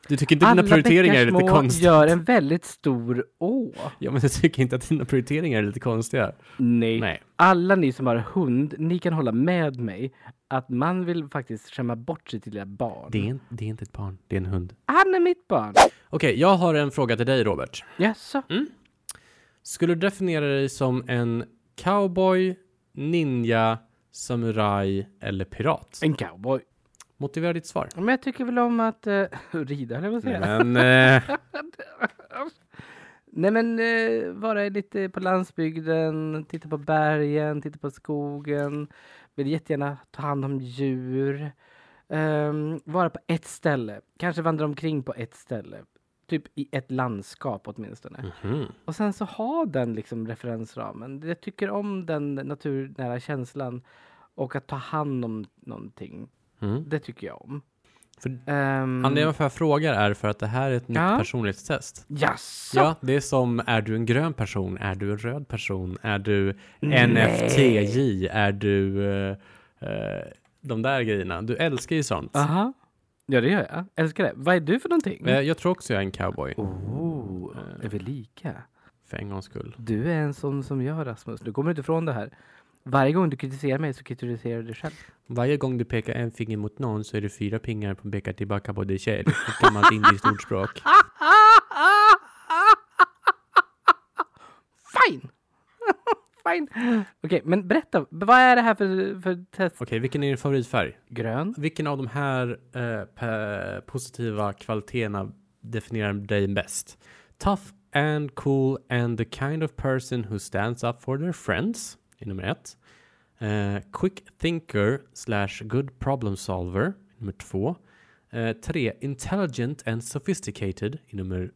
B: Du tycker inte att dina prioriteringar är
A: bäckar
B: lite
A: små
B: konstiga?
A: gör en väldigt stor å.
B: Ja, men jag tycker inte att dina prioriteringar är lite konstiga.
A: Nej.
B: Nej.
A: Alla ni som har hund, ni kan hålla med mig att man vill faktiskt skämma bort sitt lilla barn.
B: Det är, en, det är inte ett barn, det är en hund.
A: Han är mitt barn!
B: Okej, jag har en fråga till dig, Robert.
A: Jaså?
B: Mm. Skulle du definiera dig som en cowboy, ninja, samuraj eller pirat?
A: En cowboy.
B: Motivera ditt svar.
A: Men jag tycker väl om att eh, rida, höll jag på att säga.
B: Men, eh,
A: Nej men eh, vara lite på landsbygden, titta på bergen, titta på skogen. Vill jättegärna ta hand om djur. Ehm, vara på ett ställe, kanske vandra omkring på ett ställe. Typ i ett landskap åtminstone.
B: Mhm.
A: Och sen så ha den liksom referensramen. Jag tycker om den naturnära känslan och att ta hand om någonting.
B: Mm.
A: Det tycker jag om.
B: För-
A: Ehm,
B: Anledningen varför jag frågar är för att det här är ett nytt
A: Ja.
B: personlighetstest.
A: Jaså?
B: Ja, det är som är du en grön person? Är du en röd person? Är du
A: Nej.
B: NFTJ? Är du eh, eh, de där grejerna? Du älskar ju sånt.
A: Aha. Ja, det gör jag. Älskar det. Vad är du för någonting?
B: Eh, Jag tror också jag är en cowboy.
A: Oh,
B: Eh.
A: är vi lika?
B: För en gångs skull.
A: Du är en sån som jag, Rasmus. Du kommer inte ifrån det här. Varje gång du kritiserar mig så kritiserar du dig själv.
B: Varje gång du pekar en finger mot någon så är det fyra pingar på pekar tillbaka på dig själv. Ett gammalt indiskt ordspråk.
A: Fine! Fine! Okej, men berätta. Vad är det här för, för test?
B: Okej, vilken är din favoritfärg?
A: Grön?
B: Vilken av de här eh, pe- positiva kvaliteterna definierar dig bäst? Tough and cool and the kind of person who stands up for their friends, är nummer ett. Eh, quick thinker slash good problem solver, nummer två. Eh, tre, intelligent and sophisticated, är nummer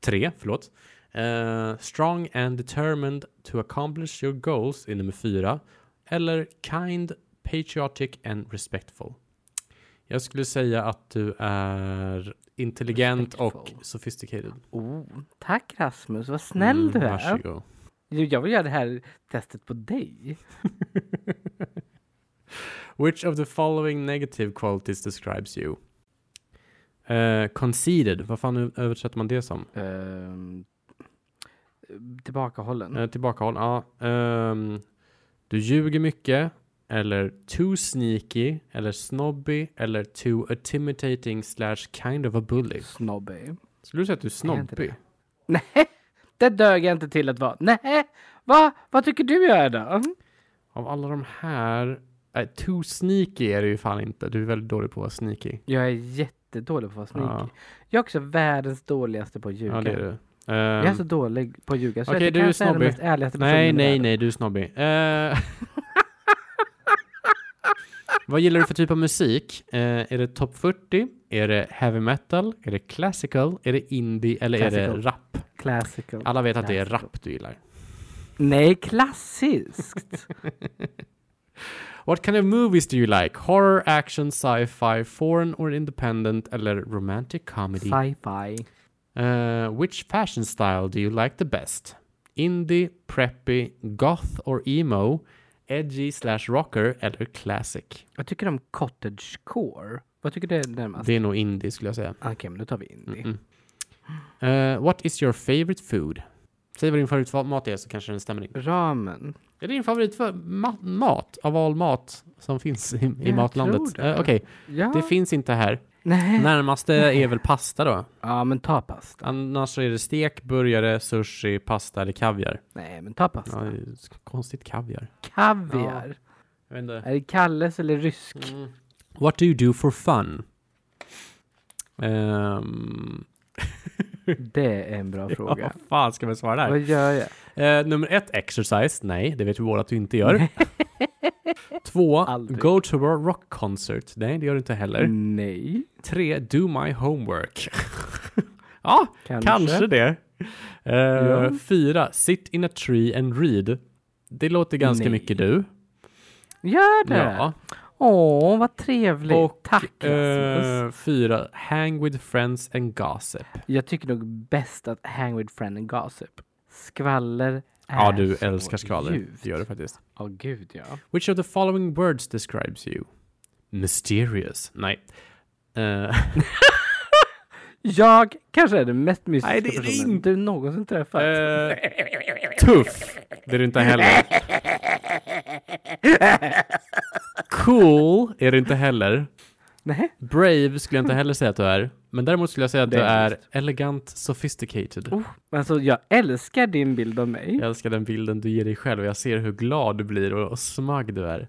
B: tre, förlåt. Eh, strong and determined to accomplish your goals, är nummer fyra. Eller kind patriotic and respectful. Jag skulle säga att du är intelligent
A: Respectful.
B: och sophisticated.
A: Oh, tack Rasmus, vad snäll du är.
B: Mm, Varsågod.
A: Jo, Jag vill göra det här testet på dig.
B: Which of the following negative qualities describes you? Eh, conceded, vad fan översätter man det som?
A: Um, tillbakahållen.
B: Uh, tillbakahållen, ja. Ehm, du ljuger mycket, eller too sneaky, eller snobby, eller too intimidating slash kind of a bully.
A: Snobby.
B: Skulle du säga att du är
A: Är jag inte
B: snobbig?
A: Nej, det dög jag inte till att vara. Nej, va? Vad tycker du jag är då?
B: Av alla de här, nej, too sneaky är det ju fan inte. Du är väldigt dålig på att vara sneaky.
A: Jag är jättedålig på att vara sneaky.
B: Ja.
A: Jag är också världens dåligaste på att ljuga.
B: Ja, det är du.
A: Jag är
B: Ehm,
A: så dålig på att ljuga så
B: Okej,
A: jag
B: du är
A: kanske är den
B: snobbig.
A: mest ärligaste personen
B: Nej,
A: i
B: nej,
A: världen.
B: nej, du är snobbig. Eh, vad gillar du för typ av musik? Eh, är det top 40? Är det heavy metal? Är det classical? Är det indie? Eller är det
A: Classical.
B: rap?
A: Classical.
B: Alla vet att det är
A: Classical.
B: rap du gillar.
A: Nej, klassiskt.
B: What kind of movies do you like? Horror, action, sci-fi, foreign or independent eller romantic comedy?
A: Sci-fi.
B: Eh, which fashion style do you like the best? Indie, preppy, goth or emo? Edgy slash rocker eller classic?
A: Jag tycker om cottagecore. Vad tycker du är närmast?
B: Det är nog indie skulle jag säga.
A: Okej, men då tar vi indie.
B: Mm. Eh, what is your favorite food? Säg vad din favoritmat är så kanske den stämmer in.
A: Ramen.
B: Är det din favoritmat av all mat som finns i, i
A: Jag
B: matlandet?
A: tror det.
B: Eh, Okej,
A: Ja.
B: det finns inte här.
A: Nej.
B: Närmaste är väl pasta då?
A: Ja, men ta pasta.
B: Annars så är det stek, burgare, sushi, pasta eller kaviar.
A: Nej, men ta
B: Ja,
A: pasta.
B: det är s- konstigt kaviar.
A: Kaviar.
B: Jag vet inte. Mm.
A: Är det Kalles eller rysk?
B: What do you do for fun? Ehm,
A: Det är en bra
B: vad
A: fråga.
B: fan ska man svara där?
A: Vad gör jag?
B: Eh, nummer ett, exercise. Nej, det vet vi båda att du inte gör. Två,
A: Aldrig. Mm.
B: go to a rock concert. Nej, det gör du inte heller.
A: Nej.
B: Tre, do my homework. ja,
A: Kanske.
B: kanske, det. Eh,
A: Ja.
B: Fyra, sit in a tree and read. Det låter ganska
A: Nej.
B: mycket du.
A: Gör det? Åh, vad trevligt.
B: Och,
A: Tack Rasmus. Äh,
B: Eh, fyra, hang with friends and gossip.
A: Jag tycker nog bäst att hang with friend and gossip. Skvaller är
B: Ja, du
A: så
B: älskar skvaller.
A: Ljuvt.
B: Det gör du faktiskt.
A: Ja, gud ja.
B: Which of the following words describes you? Mysterious. Nej. Eh,
A: Jag kanske är den mest mystiska
B: Nej, det är
A: personen
B: inte.
A: du någonsin träffat.
B: Eh, tuff. Det är du inte heller. Cool är du inte heller.
A: Nej.
B: Brave skulle jag inte heller säga att du är. Men däremot skulle jag säga att du
A: Det är
B: är elegant sophisticated.
A: Oh, alltså, jag älskar din bild av mig.
B: Jag älskar den bilden du ger dig själv och jag ser hur glad du blir och, och smagg du är.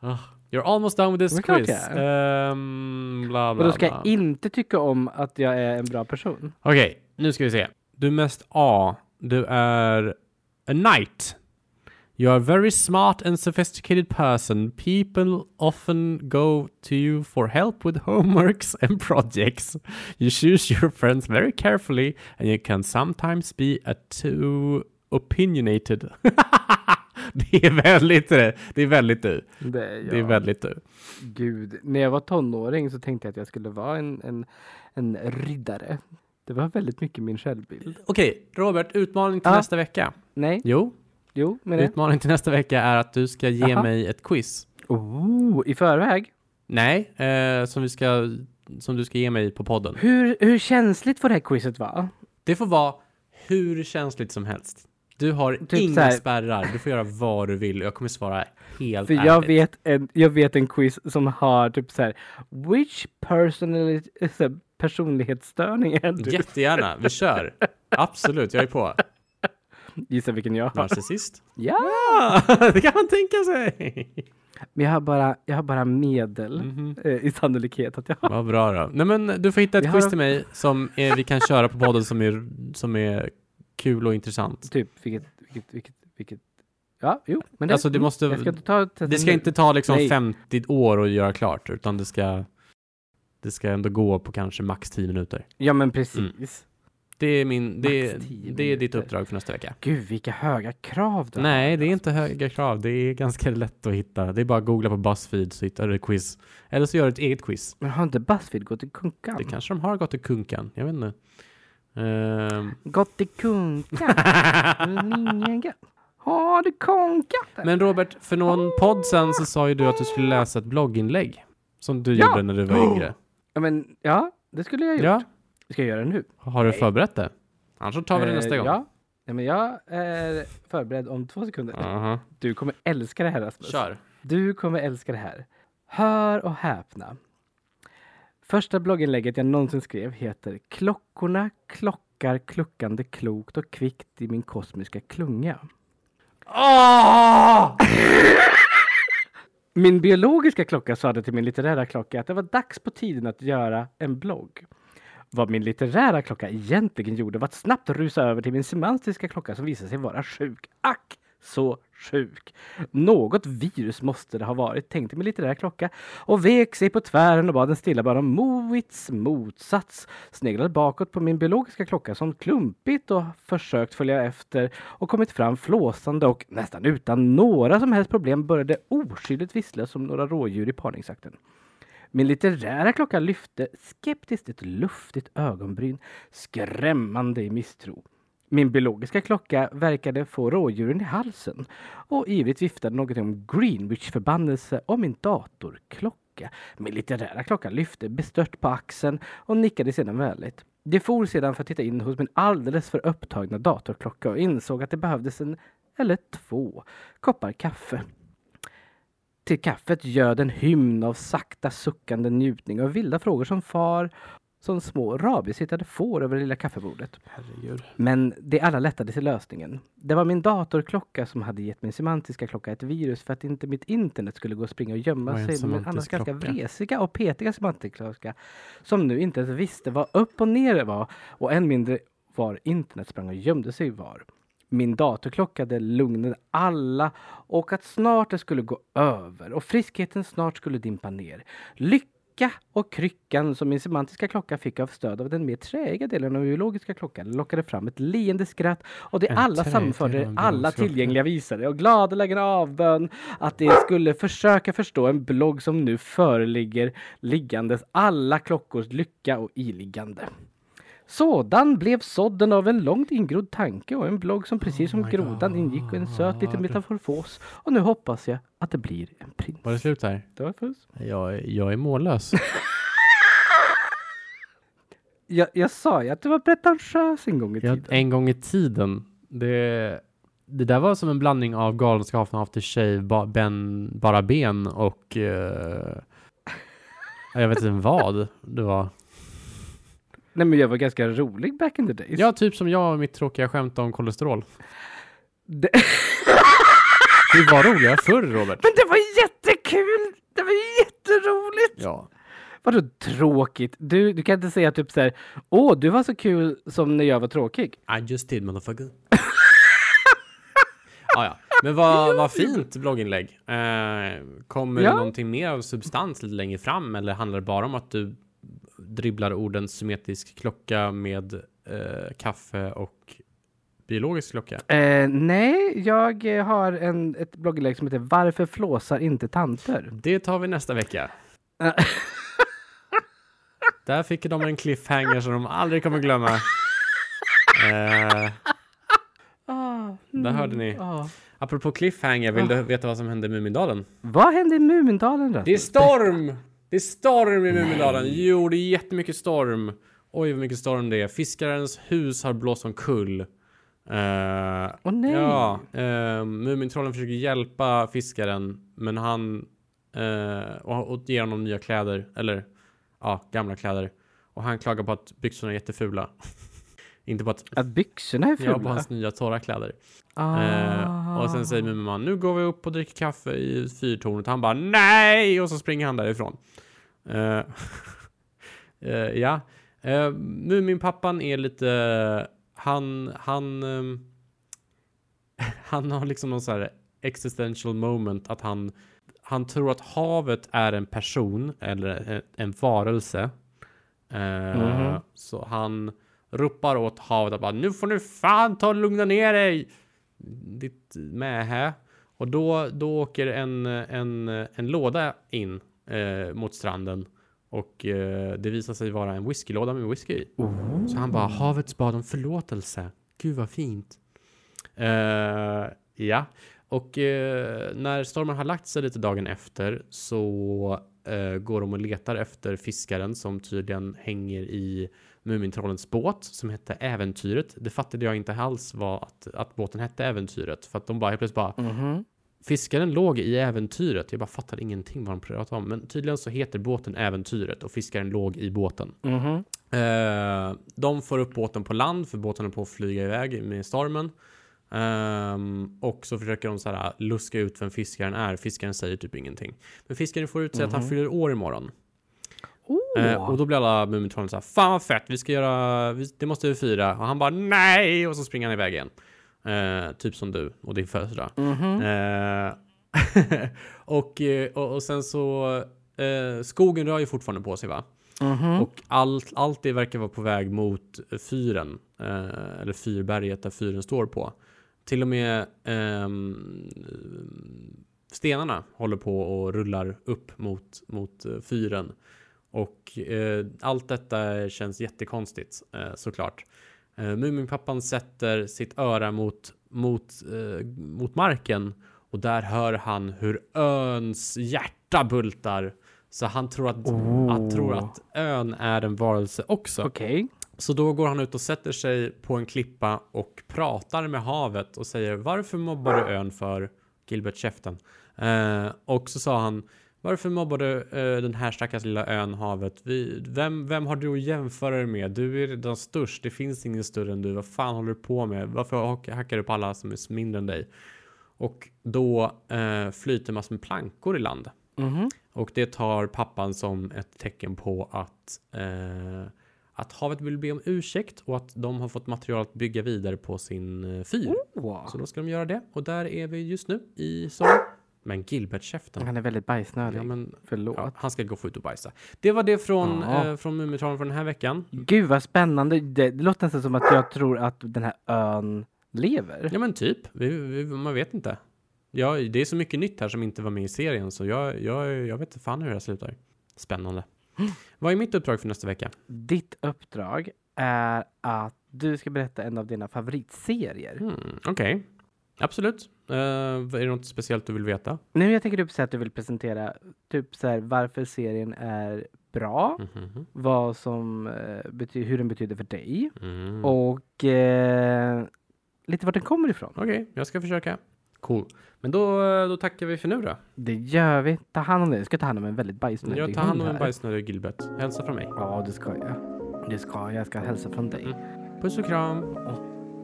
B: Ah, you're almost done with
A: Men
B: this
A: klart
B: quiz.
A: jag
B: Ehm, bla,
A: Och
B: bla,
A: då ska
B: bla.
A: jag inte tycka om att jag är en bra person.
B: Okej, nu ska vi se. Du är mest A. Du är a knight. You are a very smart and sophisticated person. People often go to you for help with homeworks and projects. You choose your friends very carefully and you can sometimes be a too opinionated. det är väldigt det. Det är väldigt du.
A: Det är, jag.
B: Det är väldigt du.
A: Gud, när jag var tonåring så tänkte jag att jag skulle vara en, en, en riddare. Det var väldigt mycket min självbild.
B: Okej, Robert, utmaning till
A: Ja.
B: nästa vecka.
A: Nej,
B: Jo,
A: jo, men det.
B: utmaning till nästa vecka är att du ska ge
A: Jaha.
B: mig ett quiz.
A: Oh, i förväg.
B: Nej, eh, som, vi ska, som du ska ge mig på podden.
A: Hur, hur känsligt får det här quizet vara?
B: Det får vara hur känsligt som helst. Du har
A: Typ så
B: inga
A: här-
B: spärrar. Du får göra vad du vill och jag kommer svara helt
A: För
B: ärligt.
A: jag vet, en, jag vet en quiz som har typ så här, which personality, så här, personlighetsstörning är du?
B: Jättegärna, vi kör. Absolut, jag är på.
A: Gissa vilken jag har.
B: Narcissist?
A: Ja!
B: Ah, det kan man tänka sig.
A: Men jag har bara, jag har bara medel
B: Mm.
A: eh, i sannolikhet att jag har.
B: Vad bra då. Nej men du får hitta ett
A: Vi har-
B: quiz till mig som eh, vi kan köra på podden som är, som är kul och intressant.
A: Typ, vilket, vilket, vilket, vilket. Ja, jo, men det,
B: Alltså det måste...
A: jag ska inte ta ett
B: Det ska inte ta liksom
A: Nej.
B: 50 år att göra klart, utan det ska... Det ska ändå gå på kanske max 10 minuter.
A: Ja, men
B: Mm.
A: precis.
B: Det är, min, det, är-
A: Max 10
B: det är ditt
A: minuter.
B: uppdrag för nästa vecka.
A: Gud, vilka höga krav du
B: Nej, det är inte höga krav. Det är ganska lätt att hitta. Det är bara att googla på Buzzfeed så hittar du ett quiz. Eller så gör du ett eget quiz.
A: Men har inte Buzzfeed gått i kunkan?
B: Det kanske de har gått i kunkan. Jag vet inte. Ehm.
A: Gått i kunkan? Ingen Har du konkat?
B: Men Robert, för någon podd sen så sa ju du att du skulle läsa ett blogginlägg. Som du
A: Ja!
B: gjorde när du var yngre.
A: Ja, men ja, det skulle jag gjort.
B: Ja.
A: Ska jag göra det nu?
B: Har du förberett det? Annars så tar vi det
A: Eh,
B: nästa gång.
A: Ja. Nej, men jag är förberedd om två sekunder.
B: Aha.
A: Du kommer älska det här Rasmus.
B: Kör.
A: Du kommer älska det här. Hör och häpna. Första blogginlägget jag någonsin skrev heter Klockorna klockar kluckande klokt och kvickt i min kosmiska klunga. Ah!
B: Åh!
A: Min biologiska klocka sade till min litterära klocka att det var dags på tiden att göra en blogg. Vad min litterära klocka egentligen gjorde var att snabbt rusa över till min semantiska klocka som visade sig vara sjuk. Ack så sjuk! Något virus måste det ha varit, tänkte min litterära klocka och vek sig på tvären och bad den stilla bara om movits motsats. Sneglade bakåt på min biologiska klocka som klumpigt och försökt följa efter och kommit fram flåsande och nästan utan några som helst problem började oskyldigt vissla som några rådjur i parningsakten. Min litterära klocka lyfte skeptiskt ett luftigt ögonbryn, skrämmande i misstro. Min biologiska klocka verkade få rådjuren i halsen och ivrigt viftade någonting om Greenwich-förbannelse om min datorklocka. Min litterära klocka lyfte bestört på axeln och nickade sedan vänligt. Det for sedan för att titta in hos min alldeles för upptagna datorklocka och insåg att det behövdes en eller två koppar kaffe. Till kaffet göd en hymn av sakta suckande njutning och vilda frågor som far som små rabieshittade får över det lilla kaffebordet.
B: Herregud.
A: Men det alla lättade till lösningen. Det var min datorklocka som hade gett min semantiska klocka ett virus för att inte mitt internet skulle gå och springa och gömma
B: Vad är en
A: sig med min annars
B: semantisk
A: ganska
B: klocka?
A: vresiga och petiga semantiska klocka som nu inte ens visste vad upp och ner var och än mindre var internet sprang och gömde sig var. Min datorklocka det lugnade alla och att snart det skulle gå över och friskheten snart skulle dimpa ner. Lycka och kryckan som min semantiska klocka fick av stöd av den mer träiga delen av biologiska klockan lockade fram ett leende skratt och det
B: En
A: alla
B: träig del av
A: samförde,
B: den
A: alla
B: biologiska
A: tillgängliga visade och gladeligen avbön att de skulle försöka förstå en blogg som nu föreligger liggandes alla klockors lycka och iliggande. Sådan blev sådden av en långt ingrodd tanke och en blogg som precis som
B: Oh my
A: grodan ingick i en söt liten
B: God.
A: metamorfos och nu hoppas jag att det blir en prins.
B: Var det slut där?
A: Det var puss.
B: Jag, jag är mållös.
A: Jag, jag sa ju att du var pretentiös en gång i
B: jag,
A: tiden.
B: en gång i tiden. Det, det där var som en blandning av Galenskaparna, After Shave, ba, ben, Bara Ben och... eh, jag vet inte vad det var.
A: Nej men jag var ganska rolig back in the days.
B: Ja, typ som jag och mitt tråkiga skämt om kolesterol.
A: Det,
B: Vi var roliga förr, Robert.
A: men det var jättekul! Det var jätteroligt!
B: Ja.
A: Vadå tråkigt? Du, du kan inte säga typ såhär, åh du var så kul som när jag var tråkig.
B: I just did, motherfucker. ah, ja. Men vad, vad fint blogginlägg. Eh, kommer
A: Ja.
B: det någonting mer av substans lite längre fram eller handlar det bara om att du dribblar orden symmetrisk klocka med eh, kaffe och biologisk klocka?
A: Eh, nej, jag eh, har en, ett blogginlägg som heter Varför flåsar inte tanter?
B: Det tar vi nästa vecka.
A: Eh,
B: Där fick de en cliffhanger som de aldrig kommer glömma. Eh, där hörde ni.
A: ja.
B: Apropå cliffhanger, vill du veta vad som hände i Mumindalen?
A: Vad hände i Mumindalen
B: Det är
A: Rasmus?
B: storm! Det är storm i Mumindalen. Jo, det är jättemycket storm. Oj, vad mycket storm det är. Fiskarens hus har blåst omkull. Eh,
A: Åh nej!
B: Ja, eh, Mumintrollen försöker hjälpa fiskaren, men han eh, och, och ger honom nya kläder, eller ja, gamla kläder. Och han klagar på att byxorna är jättefula. Inte på att
A: Att byxorna är
B: jag på
A: fula?
B: hans nya torra kläder.
A: Ah.
B: Eh, och sen säger Muminman, nu går vi upp och dricker kaffe i fyrtornet. Han bara, nej! Och så springer han därifrån. Eh, eh, ja. Eh, Muminpappan är lite, han, han, ehm, han har liksom någon så här existential moment att han, han tror att havet är en person eller en, en varelse. Eh,
A: Mhm.
B: Så han ropar åt havet att bara, nu får du fan ta och lugna ner dig ditt mähä. Och då, då åker en, en, en låda in eh, mot stranden och eh, det visar sig vara en whiskylåda med whisky i. Så han bara havets bad om förlåtelse. Gud vad fint. Eh, ja, och eh, när stormen har lagt sig lite dagen efter så eh, går de och letar efter fiskaren som tydligen hänger i Mumintrollens båt som hette Äventyret. Det fattade jag inte alls var att, att båten hette Äventyret för att de bara helt plötsligt bara
A: Mhm.
B: Fiskaren låg i äventyret. Jag bara fattar ingenting vad de pratar om, men tydligen så heter båten Äventyret och fiskaren låg i båten.
A: Mhm.
B: Eh, de får upp båten på land för båten är på att flyga iväg med stormen. Ehm, och så försöker de så här luska ut vem fiskaren är. Fiskaren säger typ ingenting. Men fiskaren får ut sig att han fyller år imorgon.
A: Åh.
B: Eh, och då blir alla Mumintrollen så här, fan vad fett, vi ska göra, vi, det måste vi fira. Och han bara nej! Och så springer han iväg igen. Eh, typ som du och din födelsedag.
A: Mhm.
B: Eh, och, eh, och, och sen så, eh, skogen rör ju fortfarande på sig va?
A: Mhm.
B: Och allt, allt det verkar vara på väg mot fyren, eh, eller fyrberget där fyren står på. Till och med ehm, stenarna håller på och rullar upp mot, mot eh, fyren. Och eh, allt detta känns jättekonstigt eh, såklart. Eh, Muminpappan sätter sitt öra mot, mot, eh, mot marken och där hör han hur öns hjärta bultar. Så han tror att, han tror att ön är en varelse också.
A: Okej.
B: Så då går han ut och sätter sig på en klippa och pratar med havet och säger varför mobbar du ön för Gilbert käften? Eh, och så sa han varför mobbar du eh, den här stackars lilla ön havet? Vi, vem, vem har du att jämföra dig med? Du är redan störst. Det finns ingen större än du. Vad fan håller du på med? Varför hack- hackar du på alla som är mindre än dig? Och då eh, flyter massor med plankor i land.
A: Mhm.
B: Och det tar pappan som ett tecken på att, eh, att havet vill be om ursäkt och att de har fått material att bygga vidare på sin eh, fyr.
A: Åh.
B: Så då ska de göra det. Och där är vi just nu i sommar. Men Gilbert-käften.
A: Han är väldigt bajsnödig.
B: Ja, men,
A: Förlåt.
B: ja, han ska gå och få ut och bajsa. Det var det från,
A: Ja.
B: eh, från Mumintrollen för den här veckan.
A: Gud vad spännande. Det, det låter nästan som att jag tror att den här ön lever.
B: Ja men typ. Vi, vi, man vet inte. Ja, det är så mycket nytt här som inte var med i serien så jag, jag, jag vet inte fan hur det här slutar. Spännande. Vad är mitt uppdrag för nästa vecka?
A: Ditt uppdrag är att du ska berätta en av dina favoritserier.
B: Mm, Okej, absolut. Eh, är det något speciellt du vill veta?
A: Nu jag tänker typ så här att du vill presentera typ så här, varför serien är bra,
B: Mhm.
A: vad som, eh, bety- hur den betyder för dig
B: Mm.
A: och eh, lite vart den kommer ifrån.
B: Okej, jag ska försöka. Cool. Men då, då tackar vi för nu då.
A: Det gör vi. Ta hand om dig. Jag ska ta hand om en väldigt bajsnödig
B: Jag tar hand om
A: hund
B: en
A: här.
B: bajsnödig Gilbert. Hälsa från mig.
A: Ja, det ska jag. Det ska jag. Jag ska hälsa från dig.
B: Puss och kram.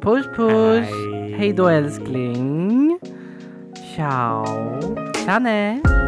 A: Puss puss!
B: Mm. Hej.
A: Hej då älskling! Ciao! Sanne!